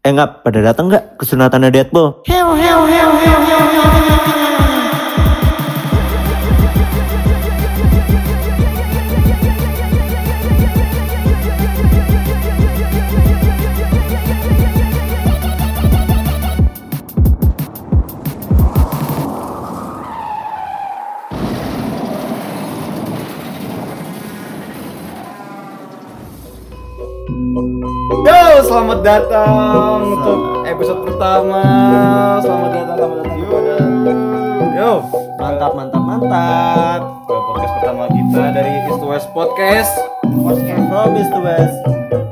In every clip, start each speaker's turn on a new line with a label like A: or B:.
A: Eh nggak, pada datang nggak ke sunatannya Deadpool?
B: Yo, selamat datang untuk episode pertama. Selamat datang, selamat datang Yoda. Yo,
A: Mantap, mantap, mantap.
B: ke podcast pertama kita dari East to West Podcast.
A: Podcast from East to West,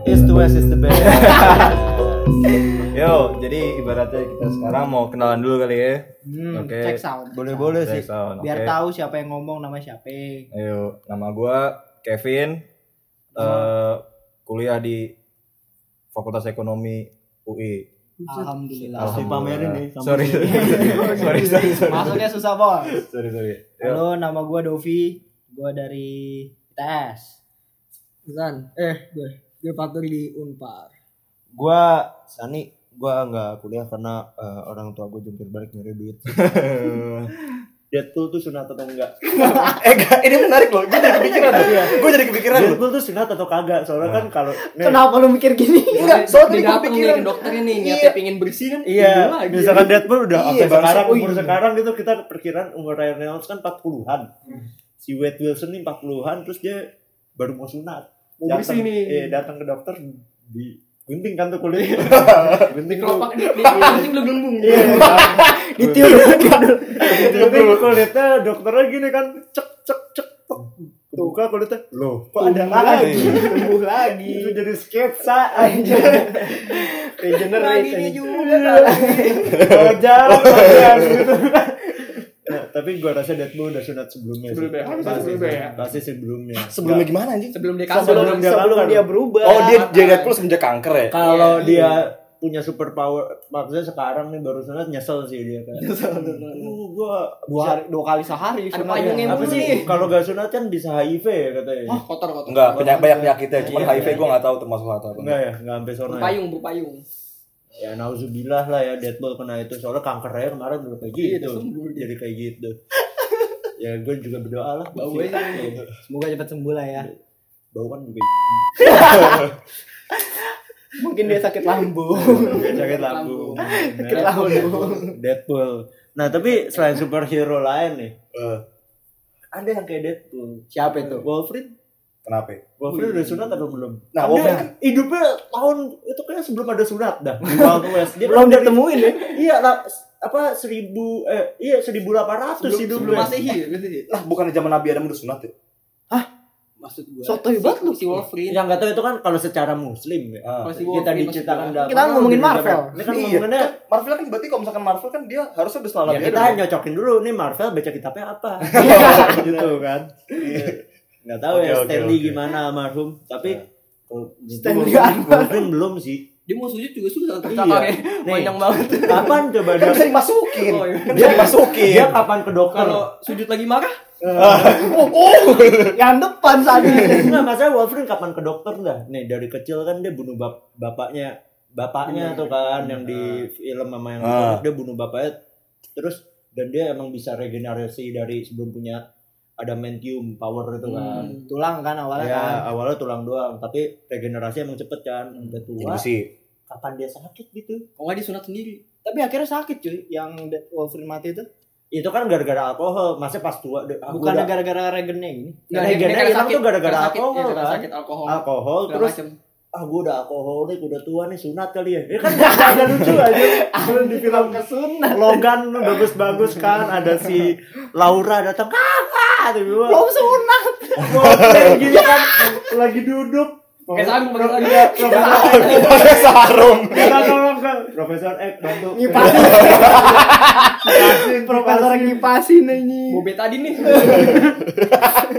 A: East to West is the best.
B: Yo, jadi ibaratnya kita sekarang mau kenalan dulu kali ya.
C: Hmm,
B: Oke.
C: cek sound.
A: boleh, boleh sih.
B: Dari sound,
C: Biar
B: oke.
C: tahu siapa yang ngomong nama siapa.
B: Ayo, nama gua Kevin. Eh kuliah di Fakultas Ekonomi UI.
C: Alhamdulillah.
A: Pasti pamerin nih, sambil-
B: Sorry. sorry, sorry, sorry.
C: Masuknya susah, Bos.
B: Sorry, sorry. Yo.
C: Halo, nama gua Dovi. Gua dari ITS.
D: Zan, eh gue, gue patut di Unpar.
A: gua Sani, gua nggak kuliah karena eh, orang tua gua jungkir balik nyari duit. Deadpool tuh sunat atau enggak?
B: eh, gak, ini menarik loh. Gue jadi kepikiran.
D: Iya.
B: Gue jadi kepikiran loh.
A: Deadpool tuh sunat atau kagak? Soalnya kan kalau
C: Kenapa lu mikir gini?
B: Enggak, soalnya tadi gua
D: Dia dateng Iya, nih
B: kepikiran.
D: ke dokter ini,
B: Iya.
D: niatnya pingin bersih kan? Gila
A: Iya,
D: lagi.
A: misalkan Deadpool udah
B: Iya,
A: sampai sekarang
B: bangsa-
A: umur
B: Wih.
A: sekarang gitu kita perkiraan umur Ryan Reynolds kan 40-an. Si Wade Wilson nih 40-an terus dia baru mau sunat.
D: Mau bersih nih.
A: eh, datang ke dokter di gunting kan tuh kulit. gunting tuh.
D: Keropak di di- penting lu gelembung.
A: Iya.
C: Ditiup.
A: Gunting kulitnya dokternya gini kan cek cek cek tek. Buka kulitnya. Loh, kok ada lagi?
C: Tumbuh lagi.
A: Itu jadi sketsa aja.
D: Lagi
A: Regenerate.
D: Nah,
B: iya,
D: dia
A: anjing.
D: juga. lagi.
A: Kalau jarang kalian gitu. Nah, tapi gua rasa Deadpool udah sunat sebelumnya. sih.
D: Sebelumnya, harus
A: Pasti
D: sebelumnya
A: sih,
D: ya.
A: Pasti sebelumnya.
E: Sebelumnya gimana anjing?
D: Sebelum dia
A: Sebelum
D: kasur.
A: dia lalu kan.
C: dia berubah.
E: Oh dia dia Deadpool semenjak kanker ya?
A: Kalau
D: Iya.
A: dia punya super power maksudnya sekarang nih baru sunat nyesel sih dia kan. Nyesel. Uh, gua
C: dua, dua kali sehari
D: Ada
C: sunatnya.
D: payungnya
A: apa
D: mulu
A: sih
D: nih.
A: kalau gak sunat kan bisa HIV ya katanya.
D: Oh, kotor kotor.
E: Enggak, banyak banyak penyakitnya. Cuman
A: Iya,
E: HIV
A: iya.
E: gue nggak tahu termasuk atau apa.
A: Enggak ya, enggak sampai sono ya.
D: Berpayung, berpayung.
A: Ya nauzubillah lah ya Deadpool kena itu soalnya kankernya kemarin udah kayak
D: Iya,
A: gitu.
D: udah sembuh dia.
A: Jadi kayak gitu. ya gue juga berdoa lah.
D: Bau aja.
A: Iya.
C: Semoga cepat sembuh lah ya.
A: Bau kan juga
C: Mungkin dia sakit lambung.
A: sakit lambung. Nah,
C: sakit lambung.
A: Deadpool. Nah tapi selain superhero lain nih,
E: Eh,
A: ada yang kayak Deadpool.
C: Siapa itu?
A: Wolverine,
E: Kenapa? ya?
A: Wolverine udah sunat atau belum?
E: Nah,
A: Kan
E: Wolverine-
A: dia kan hidupnya tahun itu kayaknya sebelum ada sunat dah. Di Wild West. Dia
C: Belum
A: kan dari-
C: ditemuin ya.
A: Iya lah, apa seribu eh iya seribu delapan ratus
D: Sebelum sebelum
A: hidupnya.
D: masehi, ya, gitu sih.
E: Lah iya, Nah, bukan zaman Nabi Adam udah sunat ya?
D: Maksud gue.
C: Sotoy banget lu.
D: si Wolverine.
A: Yang nggak tahu itu kan kalau secara muslim ya.
E: Ah.
D: Kalau si
A: kita
D: Wolverine
A: diciptakan
D: maksud gua.
A: dalam
C: Kita
A: orang di
C: ngomongin
A: dalam-
C: Marvel.
A: Ini kan
E: Iya.
A: ngomonginnya
E: Marvel kan berarti kalau misalkan Marvel kan dia harusnya udah setelah
A: ya
E: Nabi
A: kita
E: Adam.
A: nyocokin dulu nih Marvel baca kitabnya apa gitu kan nggak tahu
E: Oke,
A: ya
E: oke,
A: Stanley
E: oke.
A: gimana almarhum tapi kalau
C: Stanley
A: Wolverine-
C: Anwar.
A: Wolverine belum sih
D: Dia mau sujud juga susah tercakar ya.
A: Nih.
D: Panjang banget.
A: kapan coba
E: Kan
A: dia,
E: bisa dimasukin.
D: Oh, iya.
E: Kan bisa dimasukin.
A: dia kapan ke dokter
D: Kalau sujud lagi marah,
C: Oh, Yang depan tadi.
A: nggak masalah Wolverine kapan ke dokter nggak nih dari kecil kan dia bunuh bap bapaknya bapaknya tuh kan yang di film sama yang
E: Ah.
A: dia bunuh bapaknya terus dan dia emang bisa regenerasi dari sebelum punya adamantium power itu kan
D: Hmm.
C: Tulang kan awalnya
A: ya,
C: kan.
A: awalnya tulang doang, tapi regenerasi emang cepet kan, udah tua.
E: Jadi Iya, sih.
A: Kapan dia sakit gitu?
D: kok nggak disunat sendiri?
C: Tapi akhirnya sakit cuy yang Dead Wolverine mati itu.
A: Itu kan gara-gara alkohol, masa pas tua deh. ah,
C: Bukan
A: gua udah-
C: gara-gara regene ini.
A: Nah,
D: Nggak, dia-
A: regennya
D: dia karena
A: hilang tuh
D: sakit.
A: gara-gara
D: Karena sakit,
A: alkohol,
D: ya, karena
A: kan?
D: Sakit alkohol.
A: alkohol
D: Segala
A: terus
D: macem.
A: ah gue udah alkoholik udah tua nih sunat kali ya. Ya kan gak ada lucu aja. Kalau di film
C: kesunat.
A: Logan bagus-bagus kan ada si Laura datang kakak "Oh, tapi gua
C: Belum sunat.
A: Wolverine gini kan lagi duduk.
D: Kayak sarung, pakai sarung.
A: Iya, Profesor X.
E: Pakai sarung.
A: Kita tolong kan. Profesor X bantu.
C: Ngipasin.
A: Ngipasin,
C: Profesor
A: ngipasin.
C: ngipasin ini.
D: Bobet tadi nih.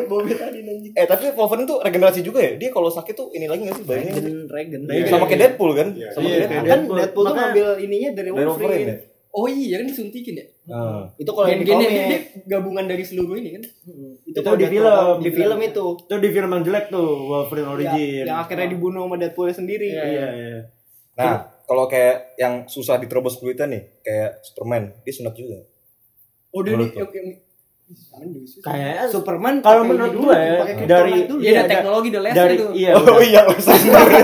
A: Bobby tadi nanya.
E: Eh tapi Wolverine tuh regenerasi juga ya? Dia kalau sakit tuh ini lagi nggak sih bayinya? nggak sih?
C: Regen.
A: Iya,
E: Sama kayak Deadpool kan? Sama
A: Iya,
E: kayak
A: kayak
E: Deadpool.
C: Kan
A: Deadpool.
C: Deadpool tuh
A: Makanya-
C: ngambil ininya dari
E: Dari Wolverine ya?
C: Wolverine.
D: Oh iya kan disuntikin ya.
E: Nah.
A: Ah.
C: Itu kalau yang di
D: Gen-gennya dia, dia
C: komik.
D: gabungan dari seluruh ini kan.
A: Itu
C: kalau
A: di
C: Deadpool
A: film, di
C: komik, di film
A: film.
C: itu.
A: Itu di film yang jelek tuh, Wolverine
C: Ya,
A: Origin. Ah.
C: Iya, Yang akhirnya dibunuh sama Deadpool sendiri.
A: Iya, iya.
E: Nah,
B: kalau kayak yang susah diterobos kulitnya nih kayak Superman dia sunat juga
C: Oh, dia
B: Menurut
C: di-
B: lo?
C: oke, ini- Superman juga sih.
A: Kayaknya
C: Ya, Superman
A: kalau
C: pakai
A: menurut
C: ini dulu,
A: gue
C: pakai
A: ya,
C: kryptonite
A: dari iya,
C: dulu. Iya,
D: Iya, ada teknologi udah les
A: dari
D: itu.
A: iya
B: oh
A: benar.
B: iya laser sendiri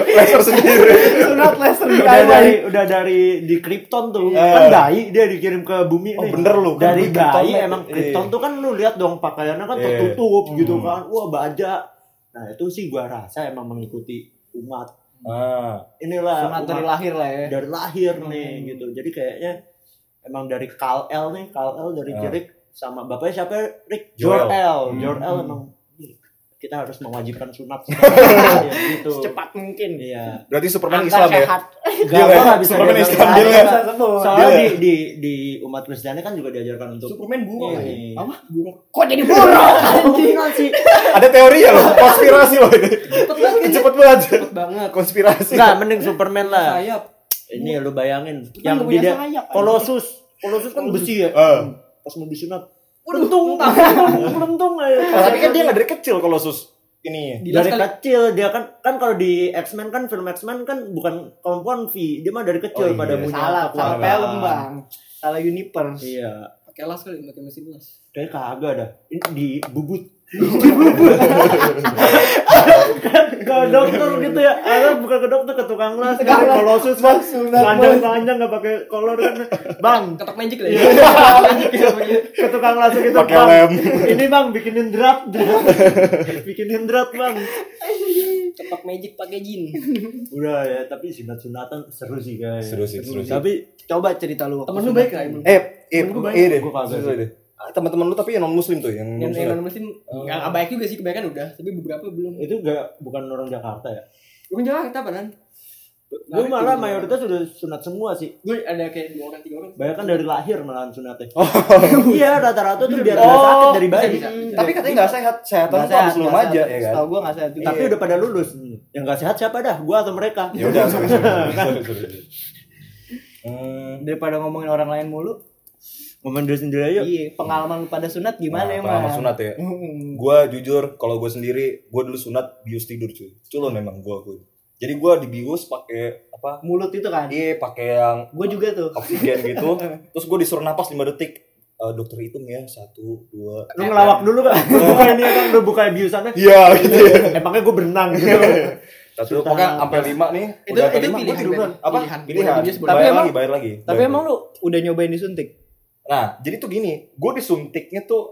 B: laser sendiri
C: sunat laser
A: udah dari udah dari di Krypton tuh kan dai dia dikirim ke bumi
B: Iya. Oh,
A: nih.
B: bener lu, kan
A: dari
B: gua
A: dai
B: Kryptonite.
A: emang Krypton
B: Iya.
A: tuh kan lu lihat dong pakaiannya kan
B: Iya.
A: tertutup gitu
B: Hmm.
A: kan wah baja nah itu sih gua rasa emang mengikuti umat
B: ah
A: inilah
C: sunat
A: umat
C: dari lahir lah ya.
A: dari lahir nih
B: Hmm.
A: gitu jadi kayaknya emang dari Kal El nih Kal El dari
B: Ah.
A: Jirik sama bapaknya siapa Rick
B: Jor-El.
A: Jor El
B: Hmm.
A: Jor El emang "Ih, kita harus mewajibkan sunat Ya, gitu
C: Secepat mungkin.
A: Iya.
B: berarti Superman
C: Antar
B: Islam ya
C: sehat.
A: Gak
B: ya?
A: apa bisa
B: Superman
A: diajarkan.
B: Islam deal
C: Iya,
B: ya?
C: bisa sebut.
A: Soalnya
B: Iya.
A: di, di di umat Kristiani kan juga diajarkan untuk
C: Superman buruk
A: Iya.
C: lagi. Apa? Buruk. Kok jadi buruk?
A: Kemungkinan sih.
B: ada teori ya loh konspirasi loh ini cepet banget
D: Cepet banget.
B: konspirasi
A: Enggak, Nah, mending Superman lah.
D: Sayap.
A: Ini lu bayangin
C: Yang
A: yang
C: punya ya,
A: dia
C: sayap.
A: kolosus. Kolosus kan besi ya.
B: Eh.
A: Pas mau disunat.
D: Untung
A: Pelentung aja.
B: Nah, tapi kan dia nggak dari kecil kalau sus ini
D: Gila
A: dari
D: sekali.
A: kecil dia kan kan kalau di X-Men kan film X-Men kan bukan kemampuan V, dia mah dari kecil
B: Oh,
A: pada
B: iya.
A: punya
C: Salah, salah
A: kekuatan.
C: film, Bang. Salah universe.
A: Iya,
D: Pakai las kali, pakai mesin las.
A: kayak kagak dah. Ini di bubut. di bubut. kan ke dokter gitu ya. Ada bukan ke dokter ke tukang las, kan kolosus Bang. Panjang-panjang enggak pakai kolor kan. Bang,
D: Ketok magic lah ya. Ketok magic ya, pokoknya.
A: ke tukang las gitu,
B: pakai
A: Bang.
B: lem
A: Ini Bang bikinin draft, draft. bikinin draft, Bang.
D: Ketok magic pakai jin.
A: Udah ya, tapi sunat-sunatan seru sih guys.
B: Seru sih, seru sih.
A: Tapi
C: Coba cerita lu. waktu
D: Temen lu
C: sunat.
D: baik lah emang.
B: eh eh
A: Temen gua
B: iya deh
A: gua kagak
B: Susah
A: sih.
B: deh. Ah, teman-teman lu tapi yang non muslim tuh yang
D: Yang yang
B: non-muslim.
D: non mesin yang baik juga sih kebanyakan udah, tapi beberapa belum.
A: itu gak bukan orang Jakarta ya
D: Bukan Jakarta padahal.
A: gue malah mayoritas sudah sunat semua sih
D: gue ada kayak dua orang tiga orang.
A: banyak kan dari lahir malahan sunatnya iya rata-rata tuh biar nggak
B: Oh,
A: sakit dari bayi
D: Bisa, bisa.
B: tapi katanya nggak sehat sehatan
C: Nggak
B: tuh harus
C: sehat,
B: lu
C: nggak
B: aja
C: sehat.
B: ya kan
C: Setahu gua enggak sehat juga.
A: tapi
C: Iya.
A: udah pada lulus yang nggak sehat siapa dah gue atau mereka
B: ya udah sorry, sorry, sorry, sorry, sorry. Hmm,
C: daripada ngomongin orang lain mulu.
A: momen diri sendiri aja
C: Iya, pengalaman lu pada sunat gimana
B: nah,
C: emang?
B: pengalaman sunat ya
C: Hmm.
B: gue jujur kalau gue sendiri gue dulu sunat bius tidur cuy culun memang gue gue jadi gue dibius pakai apa
C: Mulut itu kan.
B: iya pakai yang
C: Gua juga tuh.
B: oksigen gitu terus gue disuruh napas 5 detik Eh, dokter hitung ya satu dua
A: lu ngelawak dulu kan lu buka ini kan lu buka biusannya
B: iya gitu ya
A: emangnya gue berenang gitu
B: satu pokoknya sampai lima nih
D: Itu-
B: udah sampai
D: itu
B: lima gue
D: pilihan,
B: tiduran
D: Ben.
B: apa
D: Pilihan.
B: pilihan
D: Bius boleh.
B: bayar
C: Tapi
B: lagi
C: emang-
B: bayar lagi
C: Tapi
B: Bayar
C: emang
B: lagi.
C: lu udah nyobain disuntik?
B: nah jadi tuh gini gue disuntiknya tuh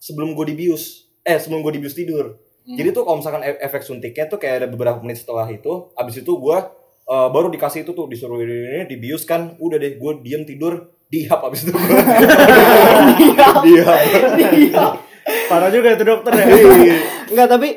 B: sebelum gue dibius eh sebelum gue dibius tidur
D: Hmm.
B: jadi tuh kalau misalkan e- efek suntiknya tuh kayak ada beberapa menit setelah itu abis itu gue eh, baru dikasih itu tuh disuruh ini, ini dibius kan udah deh gue diem tidur dihap abis itu gue dihap
A: parah juga itu dokter ya
B: Iya.
C: Enggak, tapi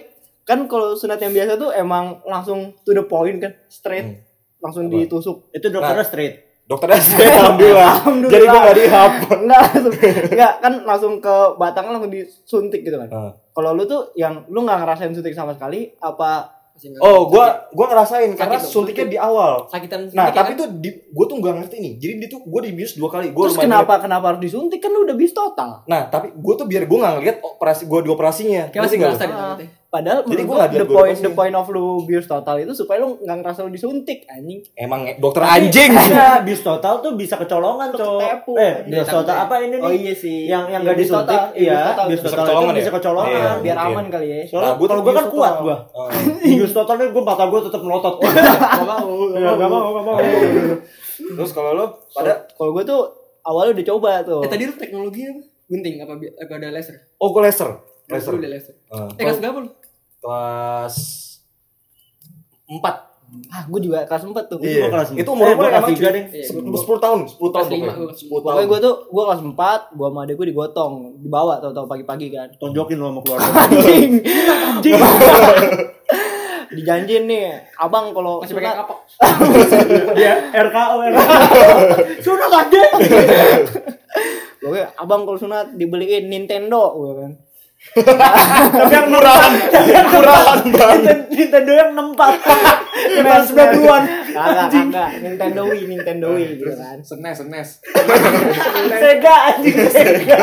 C: kan kalau sunat yang biasa tuh emang langsung to the point kan, straight
B: Hmm.
C: langsung
B: Apa?
C: ditusuk.
A: itu dokternya straight
B: Dokternya sih Nah. alhamdulillah.
C: Alhamdulillah.
B: Jadi gua gak dihap.
C: Enggak, langsung enggak kan langsung ke batang kan langsung disuntik gitu kan.
B: Ah.
C: Kalau lu tuh yang lu nggak ngerasain suntik sama sekali apa
D: Masih nggak-
B: Oh, gua gua ngerasain karena
D: Sakit tuh.
B: suntiknya di awal.
D: sakitan
B: Nah,
D: sedikit
B: tapi
D: kan?
B: tuh di, gua tuh gak ngerti nih. Jadi dia tuh gua dibius dua kali. Gua
C: terus
B: lumayan
C: kenapa kenapa harus disuntik kan lu udah bis total.
B: banyak. Nah, tapi gua tuh biar gua gak ngeliat operasi gua di operasinya.
D: kayak
B: Ngerti
D: masih
B: nggak
D: ngerasa
B: lu?
D: di tangan teh.
C: Padahal
B: Jadi
C: menurut
B: gua
C: gua
B: nggak ada
C: the
B: gua
C: point
B: doang
C: the
B: sih.
C: point of lu bius total itu supaya lu nggak ngerasa lu disuntik anjing.
B: Emang nge- dokter anjing.
A: Iya, bis total tuh bisa kecolongan,
C: Ketepu. Iya,
A: cowok. Eh, bis total apa ini nih?
C: Oh, sih.
A: Yang yang gak
C: iya. bis total,
A: disuntik, iya, bis
C: bis total.
B: Bisa
A: total
B: kecolongan
A: itu bisa
B: ya?
A: kecolongan.
B: Iya.
C: Biar
B: Mungkin.
C: aman kali ya.
B: Nah,
A: Soalnya
B: gua tuh
A: kalau gue kan
B: bius
A: kuat
B: total.
A: gue.
B: Eh,
A: Bius totalnya gue mata gue tetap melotot.
C: Gak
B: kan
C: mau.
A: Ya, gak mau, gak mau.
B: Terus kalau lu pada
C: Kalau gue tuh awalnya udah coba tuh.
D: Eh tadi lu teknologi apa? Gunting apa bi- apa ada laser?
B: oh gua laser. Laser.
D: Laser. Udah laser.
B: Eh,
D: Eh kelas berapa lu?
B: kelas 4.
C: Ah, gue juga kelas 4 tuh.
A: Iya. gua kelas
B: Itu umur
A: Eh, gua
B: gua
A: kelas
B: emang
A: tiga
B: cuy.
A: deh.
D: Iya, gua-
B: 10 tahun, 10 tahun
D: Kelas lima,
B: pokoknya.
D: gua.
B: 10 tahun.
C: Pokoknya gue tuh, gue kelas 4, gue sama adek gue digotong, dibawa tau-tau pagi-pagi kan.
A: Tonjokin lo sama keluarga.
C: Anjing. Dijanjin nih, abang kalau
D: Masih pakai
C: sunat,
D: kapok.
A: Dia RKO, RKO. Sunat aja.
C: pokoknya abang kalau sunat dibeliin Nintendo, gue kan.
A: Tapi yang murahan. Murahan banget. Nintendo yang 64. Memang 92-an.
C: Kagak, kagak, Nintendo Wii, Nintendo Wii gitu kan.
F: Senes, senes.
A: Sega anjing. Sega.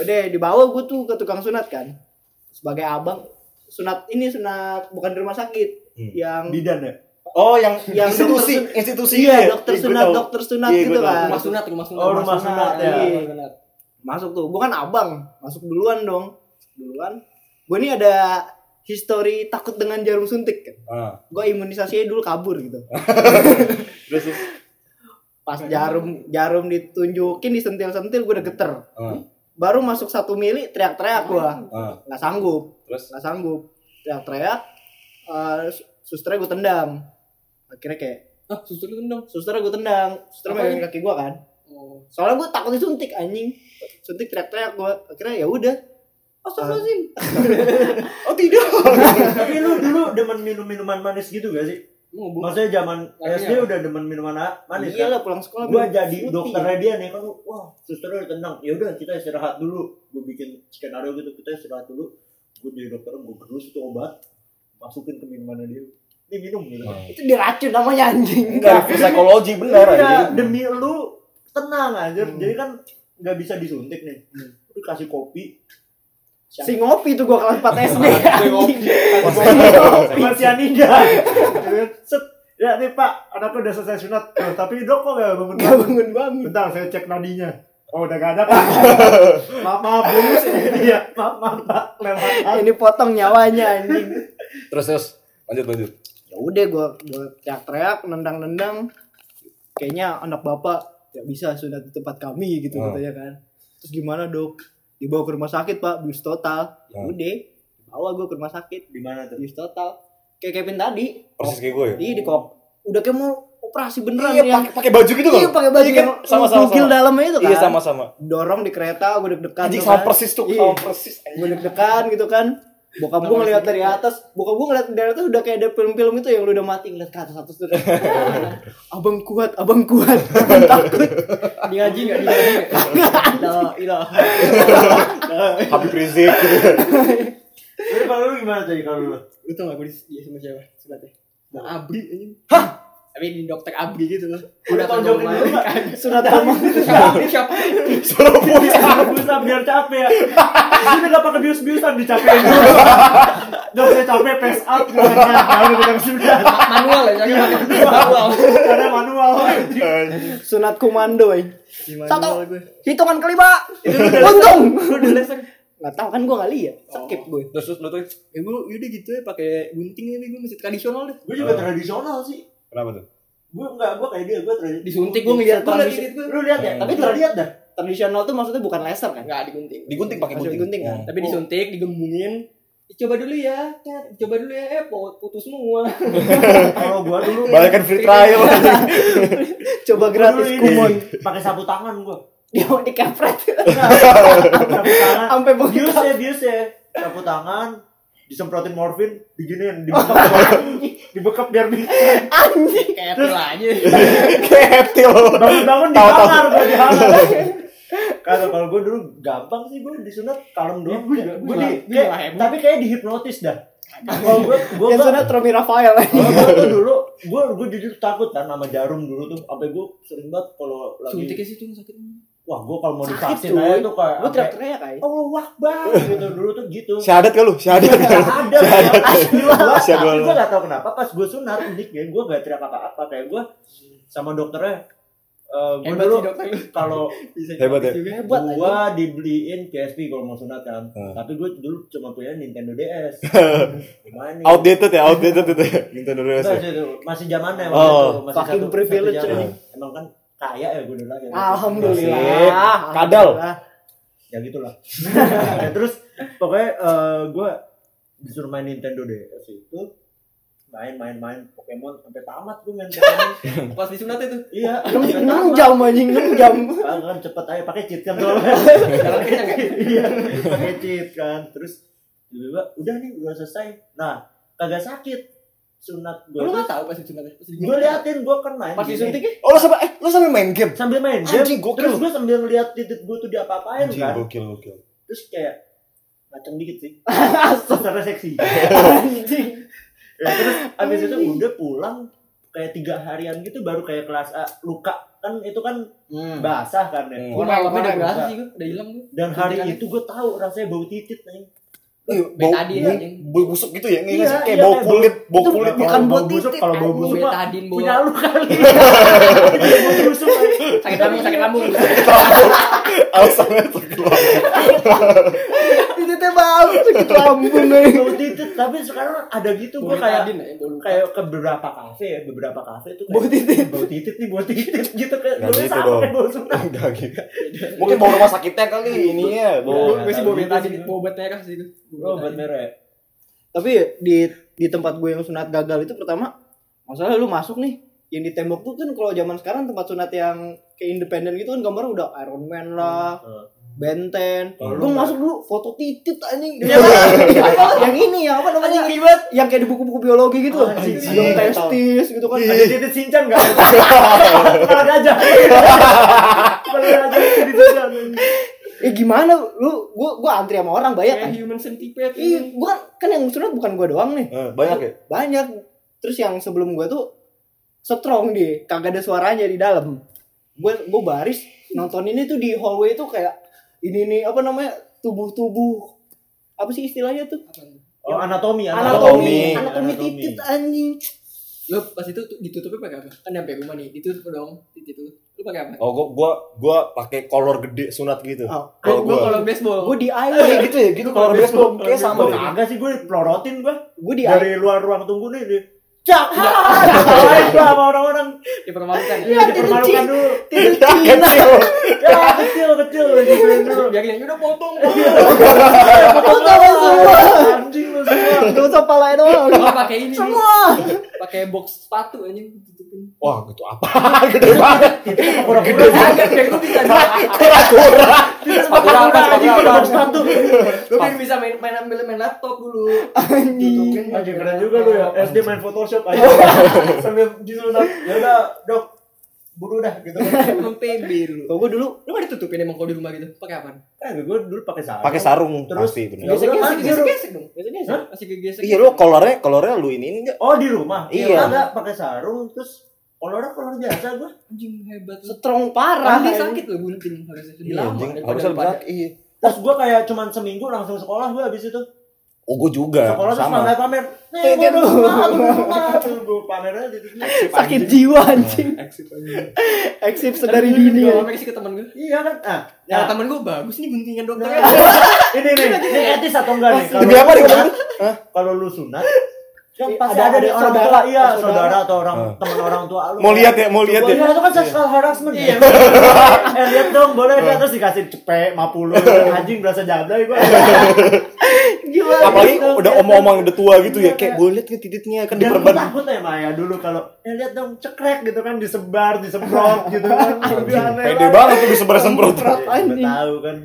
C: Udah dibawa gue tuh ke tukang sunat kan, sebagai abang sunat ini sunat bukan di rumah sakit
B: Hmm.
C: yang
A: Bidan ya?
B: Oh, yang,
C: Yang
B: institusi,
C: dokter-
B: institusi
C: iya
B: ya?
C: dokter
B: Iya, gua
C: sunat
B: tahu.
C: dokter sunat
B: Iya,
C: gitu
B: gua tahu.
C: kan
B: Rumah
G: sunat, rumah sunat.
A: Oh, rumah sunat ya.
C: Iya. masuk tuh gue kan abang masuk duluan dong duluan gue ini ada history takut dengan jarum suntik kan
B: Ah,
C: gue imunisasinya dulu kabur gitu
B: terus terus.
C: pas jarum jarum ditunjukin disentil sentil gue udah geter
B: Ah,
C: baru masuk satu mili teriak teriak gue
B: ah,
C: nggak sanggup
B: terus.
C: nggak sanggup teriak teriak eh susternya gue tendang akhirnya kayak
G: Ah, suster itu dong.
C: susternya gue tendang suster
G: Apanya?
C: megang kaki gue kan
D: Oh,
C: soalnya gue takut disuntik anjing suntik teriak teriak gue akhirnya ya udah Eh,
G: Astagfirullahaladzim.
B: Oh, tidak.
A: Tapi lu dulu demen minum minuman manis gitu gak sih?
G: Mau hubungan.
A: Maksudnya zaman
G: Iya.
A: SD udah demen minuman a- manis
C: iya
A: kan?
C: lah pulang sekolah
A: Gua
C: minum
A: jadi
C: fruity.
A: dokternya dia nih kan wah susternya udah tenang. Ya udah kita istirahat dulu. Gua bikin skenario gitu kita istirahat dulu. Gua jadi dokter gua gerus itu obat masukin ke minumannya dia. Ini minum gitu.
B: Ah.
C: itu diracun namanya anjing
B: Enggak, psikologi benar
A: Iya,
B: aja.
A: demi lu tenang aja. Jadi kan nggak bisa disuntik nih. Lu kasih kopi.
C: si ngopi tuh gue kelas 4 SD
G: Gue ngopi.
A: Sama sianida. Set. Ya nih pak, anakku udah selesai sunat. Loh, tapi dok kok nggak bangun
C: gak bangun bangun
A: Bentar, saya cek nadinya. Oh, udah gak ada, Pak. maaf, maaf, bonus. Iya, maaf, maaf, Pak. Lewat.
C: ini potong nyawanya anjing
B: Terus terus. Lanjut lanjut.
C: ya udah gue gue teriak teriak nendang nendang kayaknya anak bapak nggak bisa sudah di tempat kami gitu
B: Hmm.
C: katanya kan terus gimana dok dibawa ke rumah sakit pak bius total ya
B: Hmm.
C: udah bawa gue ke rumah sakit
A: Di mana tuh?
C: bius total kayak Kevin tadi
B: Persis kayak gue ya.
C: di di kok udah kayak mau operasi beneran
B: Iya,
C: yang
B: pakai pakai baju gitu loh.
C: Iya, iya pakai baju
B: Iya kan?
C: yang
B: Sama, sama,
C: menggugil
B: sama.
C: dalamnya itu kan
B: Iya, sama-sama.
C: dorong di kereta gue deg-degan
B: Anjing
C: tuh
B: sama
C: kan.
B: persis tuh,
C: Iya.
B: sama persis.
C: gue deg-degan gitu kan bokap gue ngeliat dari atas bokap gue ngeliat dari atas udah kayak ada film-film itu yang lu udah mati ngeliat ke atas atas terus abang kuat abang kuat abang takut
G: Di ngaji nggak di ngaji.
C: nah ilah
B: Habib Rizik gitu.
A: Jadi kalau lu gimana jadi kalau lu?
G: Lu tau gak gue di iya sama siapa? Sebatnya. Nah, Abri anjing. Tapi di dokter Abri gitu loh. Udah
A: tonjokin dulu, Pak.
C: sunat sama
G: Siapa? Siapa?
B: Suruh punya.
A: Bisa biar capek ya. Di sini gak pakai bius-biusan dicapekin dulu. Dok, saya capek, pass up. Baru bilang sudah.
G: Manual ya, jangan manual.
A: Karena manual.
C: sunat komando eh. satu hitungan kelima
G: Untung. Udah laser.
C: nggak tahu kan gue nggak lihat skip gue
B: Terus terus lu tuh.
G: Ya gue udah gitu ya pakai gunting tapi gue masih tradisional deh.
A: Gue juga tradisional sih.
B: Kenapa tuh?
A: Gue enggak, gue kayak dia, gue tradisional.
G: Disuntik gue ngeliat
A: Gue liat
G: tradisi-
A: Lu lihat ya, tapi lu lihat dah.
C: tradisional tuh maksudnya bukan laser kan
G: Enggak digunting. ya?
B: Digunting pakai
C: Masih
B: gunting.
C: gunting, kan?
B: Hmm.
G: Tapi disuntik, digembungin. "Ih, Coba dulu ya, Cat. coba dulu ya, eh pot- putus semua.
A: Kalau gue dulu,
B: Bayangkan free trial.
C: coba gratis
A: dulu ini,
C: kumon
A: Pakai sapu tangan gue.
C: dia mau dikepret
A: Sapu tangan.
C: sampai begitu
A: bius ya bius ya sapu tangan disemprotin morfin diginiin dibekap dibekap biar bisa
C: anjing
G: Kayak pil aja.
B: Kayak reptil.
A: bangun-bangun
B: Tahu, tahu.
A: dihangar gue dihangar kalau kalau gue dulu gampang sih gue disunat kalem doang gue Ya, juga gue di
G: gue
A: kayak-
G: malah heboh.
A: tapi kayak dihipnotis dah kalau gue gue
C: yang
A: nggak-
C: sunat Romi Rafael
A: kalau gue tuh dulu gue gue jujur takut kan sama jarum dulu tuh sampai gue sering banget kalau
G: Suntik
A: lagi
G: sih tuh sakit.
A: wah gue kalau mau
C: Sakit,
A: divaksin
C: cuy.
A: aja tuh kayak
C: Lu
A: sampai,
C: teriak-teriak kayak.
A: Allah wakbar gitu dulu tuh gitu
B: Syahadat gak lu? Syahadat.
A: Gak ada gak ada
B: Masih ada.
A: tapi gue gak tau kenapa pas gue sunat unik ya gue gak teriak apa-apa kayak gue sama dokternya eh gue
G: Hebat
A: dulu
G: sih dokter.
A: kalau
G: Bisa
B: Hebat ya?
G: juga.
C: Hebat aja.
A: gue dibeliin PSP kalau mau sunat kan
B: Hmm.
A: tapi gue dulu cuma punya Nintendo DS Gimana nih?
B: Outdated ya, outdated itu. ya. Nintendo DS.
A: Enggak
B: ya.
A: sih, itu. masih zamannya
B: Oh.
A: waktu itu masih
C: Fucking
A: satu-
C: privilege,
A: satu zaman.
B: anjing.
A: emang kan kaya ya gue dulu ya
B: Asik.
C: Alhamdulillah.
B: Kadal.
A: ya gitulah Ya, terus pokoknya gue disuruh main Nintendo DS itu main-main-main Pokemon sampai tamat gue main Pokemon
G: Pas disunat itu.
A: iya sampai
C: 6
A: tamat.
C: jam anjing, 6 jam.
A: Ah, kan cepet aja pakai cheat kan soalnya
G: Jalan kencang ya.
A: iya pakai cheat kan terus tiba-tiba udah nih udah selesai nah kagak sakit sunat gue
G: Lu enggak tahu pas disunatnya. Pas
A: gue liatin gue kan main
G: Pas ya?
A: gini.
G: disuntiknya.
B: Oh lu sampai eh lu sampai main game.
A: sambil main game
B: Anjing
A: terus
B: gokil.
A: gue sambil ngeliat titik gue tuh diapa-apain
B: Anjing
A: kan
B: gokil gokil.
A: terus kayak ngaceng dikit sih
C: Asap
A: secara seksi
C: anjing.
A: Ya, terus abis itu udah pulang kayak tiga harian gitu baru kayak kelas A luka kan itu kan basah kan ya
B: Hmm.
G: Gue malah udah
C: Parah, parah,
G: berasa
A: parah.
G: sih gue, udah hilang gue.
A: dan hari itu gue tahu rasanya bau titit nih
B: bau
D: Betadine, anjing.
B: bau busuk gitu ya nggak
C: Iya,
B: sih? kayak
C: iya,
B: bau
C: kayak
B: kulit bau
C: itu
B: kulit
C: bukan
A: Kalau
C: buat
A: bau busuk,
C: titik,
A: kalau bau
C: anjing.
A: busuk mah
D: Betadine, Bo.
C: punya lu kali
A: kan. busuk
D: Sakit lambung, sakit lambung.
B: alasannya terkeluar
C: itu teh bau sakit lambung nih
A: bau titik tapi sekarang ada gitu gue kayak kayak ke beberapa kafe ya beberapa kafe tuh kayak bau titit bau titit nih bau titit gitu kayak
B: Nggak
A: baunya
B: gitu
A: sama
B: dong.
A: kayak bau sunat
B: enggak gitu mungkin bau rumah sakitnya kali ininya bau
A: Nggak
D: Gue sih
A: tahu
D: bawa
A: gitu sih.
D: betadine, bawa obat merah sih itu.
A: oh obat merah ya
C: tapi ya, di di tempat gue yang sunat gagal itu pertama masalah lu masuk nih yang di tembok tuh kan kalau zaman sekarang tempat sunat yang kayak independen gitu kan gambar udah Iron Man lah
A: Hmm.
C: Benten
A: Kalau
C: gue
A: lu-
C: masuk dulu foto titit anjing yang ini yang apa namanya yang Iya, kan? kayak di buku-buku biologi gitu loh
A: Anjing.
C: ada testis gitu kan
A: ada titik sincan nggak ada aja Pernah aja titit sincan
C: eh gimana lu gue gue antri sama orang banyak kan
D: Kayak human centipede.
C: Iya, gue kan, kan yang sunat bukan gue doang nih
B: Eh, banyak ya
C: banyak terus yang sebelum gue tuh strong dia kagak ada suaranya di dalam gue gue baris nonton ini tuh di hallway tuh kayak ini nih apa namanya tubuh-tubuh apa sih istilahnya tuh
A: oh anatomi
B: Anatomi.
C: anatomi anatomi, titit anjing
D: Lu pas itu tuh ditutupnya pakai apa? Kan nyampe rumah nih, ditutup dong titik itu. Lu pakai apa?
B: oh gua gua gua pakai kolor gede sunat gitu
C: Oh,
B: Kalau
D: Gue
B: gua
D: kalau baseball.
C: gue di
B: Kayak
C: air
B: gitu ya gitu kolor baseball kayak sama
A: Gue
B: deh
A: kagak sih gue pelorotin gue
C: gue di air
A: dari luar ruang tunggu nih nih. Iya. Cak. Salahin gua sama orang-orang.
D: dipermalukan ya.
A: Iya, dipermalukan dulu.
C: titit Cina.
B: kecil
A: Ya, kecil kecil digituin dulu.
D: Biarin aja udah potong.
A: Iya,
C: foto lo semua
A: Anjing lu semua.
C: gak usah palain doang
D: Gua pakai ini. nih.
C: semua
D: Pakai box sepatu anjing tutupin.
B: wah gitu apa gede banget
A: Iya,
D: Gede banget kayak gua bisa.
B: kura-kura
D: Sepatu apa?
A: Anjing
D: Sepatu
A: lu
D: apa?
A: sepatu.
D: Lu kan bisa main main ambil main laptop dulu. Tutupin.
A: Anjing keren juga lu ya. Oh. SD main Photoshop aja. Sambil disuruh ya udah, Dok. Buru dah gitu.
D: Emang PB lu.
C: gue dulu
D: Lu gak ditutupin emang kalau di rumah gitu? Pakai apa?
A: Kan gue dulu pakai sarung.
B: pakai sarung
A: Terus?
B: pasti bener
A: Ya, udah, kan,
D: Gesek-gesek gesek dong.
C: biasanya
A: Hah?
D: Masih kegesek.
B: iya lu kolornya kolornya lu ini enggak
A: Oh, di rumah.
B: Iya.
A: Kagak pakai sarung terus kolornya kolor biasa gue.
D: anjing hebat. lu.
C: strong
A: ya.
C: parah
D: Anjing sakit lu bunting harusnya lebih
B: iya
D: lama. kan
B: anjing
D: daripada
B: harusnya
D: lu
B: lebih
D: pada-
B: sakit iya
A: Terus gue kayak cuman seminggu langsung sekolah gue abis itu.
B: oh gua juga
A: Sekolah terus
B: sama
A: pamer pamer. Nih, gue Iya, dulu. Gue pamernya titiknya.
C: sakit jiwa anjing eksip sedari
D: Tapi
C: dini
D: gua
C: ya.
D: pamer sih ke temen gue.
A: Iya kan? Ah,
D: Ya,
A: nah,
D: temen gue bagus nih guntingan dokter.
A: ini nih, ini etis atau enggak nih?
B: demi apa nih
A: sunat, kalau lu sunat, kan
C: Iya,
A: pasti ada,
C: ada- ada
A: deh orang
C: saudara,
A: tua, iya
C: saudara.
A: saudara atau orang
B: Ah.
A: teman orang tua lu.
B: mau lihat ya mau lihat
A: Iya,
B: ya
A: itu kan sexual harassment. Iya. eh, lihat dong, boleh
B: Ah.
A: lihat terus dikasih cepek 50 anjing berasa jablay gua.
C: gimana
B: apalagi
A: gitu? Iya,
B: udah omong-omong udah tua gitu ya kayak gue liat ke titiknya kan
A: Dan gue
B: diperban
A: takut ya Maya dulu kalau eh lihat dong cekrek gitu kan disebar, disemprot gitu kan. Lebih aneh
B: pede banget tuh bisa bersemprot
A: Gak tahu kan.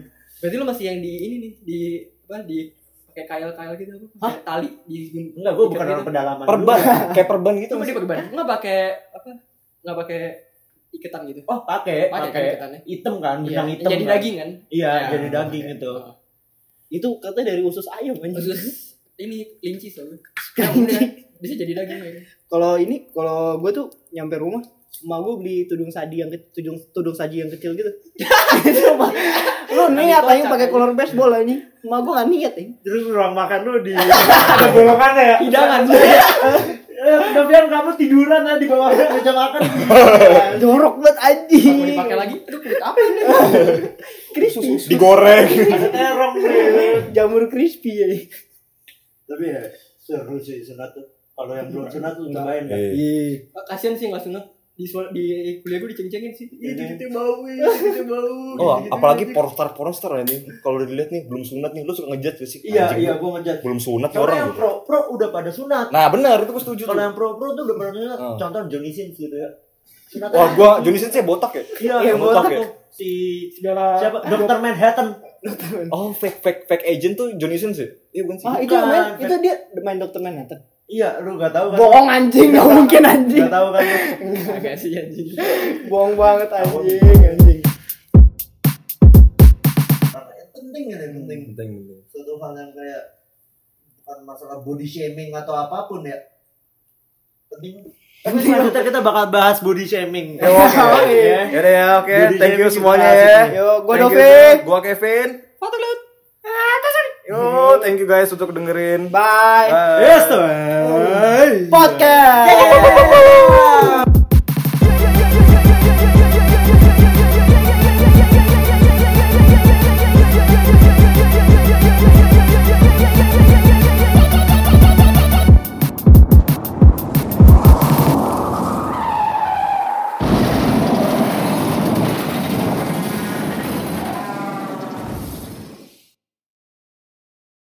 D: Berarti lu masih yang di ini nih, di apa di pakai kail-kail gitu apa? Pakai Tali di gun-
A: Enggak, gua
D: ikat
A: bukan
D: gitu.
A: orang pedalaman.
B: perban
A: juga.
B: kayak perban gitu
D: Itu masih pakai ban. Enggak pakai apa? Enggak pakai iketan gitu.
A: Oh, pakai,
D: Pakai kan
A: pakai
D: iketannya.
A: hitam kan,
D: Iya,
A: benang
D: yang
A: hitam.
D: Jadi
A: kan.
D: daging kan.
A: Iya,
D: Ya,
A: jadi daging itu.
C: itu katanya dari usus ayam anjing
D: Terus ini kelinci soalnya. Ya, udah. Bisa jadi daging ya.
C: kalau ini kalau gue tuh nyampe rumah emak gue beli tudung saji yang ke- tudung tudung saji yang kecil gitu Itu emak, lu niat aja pakai Hmm. kolor baseball anjing emak gue gak niat ya
A: Terus ruang makan lu di ada bolongannya ya.
D: Hidangan.
A: Eh, Davian kamu tiduran ya di bawah meja makan.
C: jorok banget anjing
D: Mau dipakai lagi itu kulit apa ini?
C: crispy
A: Iya.
B: digoreng
A: Ada terong nih.
C: jamur crispy ya
A: Tapi ya seru sih sunat tuh. Kalau yang belum sunat tuh cobain
B: Iya,
A: kan.
C: Iya.
D: Kasian Oh, sih langsung di suara- di kuliah gue diceng-cengin sih. Ih,
A: Ini.
D: titik Iya, bau, ih, titik bau.
B: Oh, apalagi pornstar pornstar anjing. Kalau dilihat nih belum sunat nih, lu suka ngejat sih.
A: Iya,
B: Anjing,
A: iya gua ngejat.
B: Belum sunat nih
A: Kalau
B: orang.
A: yang
B: gitu.
A: pro pro udah pada sunat.
B: Nah, benar itu gue setuju.
A: Kalau
B: tuh.
A: yang pro pro tuh udah pada sunat.
B: Oh.
A: Contoh Johnny Sins gitu ya. Sunat
B: Wah, gua Johnny Sins ya botak ya.
A: Iya, yang
B: yang botak
A: botak
B: ya?
A: tuh si siapa? Dr. Manhattan. Iya.
B: Oh, fake fake fake agent tuh Johnny Sins ya. Iya, bukan sih.
C: ah itu
A: Bukan,
C: main
A: Fer.
C: itu dia main dokter Manhattan
A: Iya, lu gak tahu kan?
C: bohong anjing gak mungkin anjing
A: Gak tahu kan? lu?
D: Agak Oh, sih anjing.
C: bohong banget anjing anjing
A: Karena yang penting ya, yang penting.
B: Penting, penting.
A: suatu hal yang kayak bukan masalah body shaming atau apapun ya penting Oh, tapi selanjutnya kita bakal bahas body shaming
G: Ya, oke.
A: iya.
G: Yaudah ya, oke.
A: Jadi
G: Thank you
A: jadi
G: semuanya
A: kita
G: ya.
A: asik
C: yo gue
G: Thank you
C: Dovin
G: semua. Gua Kevin. Foto Yo,
B: Oh, thank you guys untuk dengerin.
A: Oh.
H: Bye.
B: Bye.
C: Yes, tuh.
H: Podcast.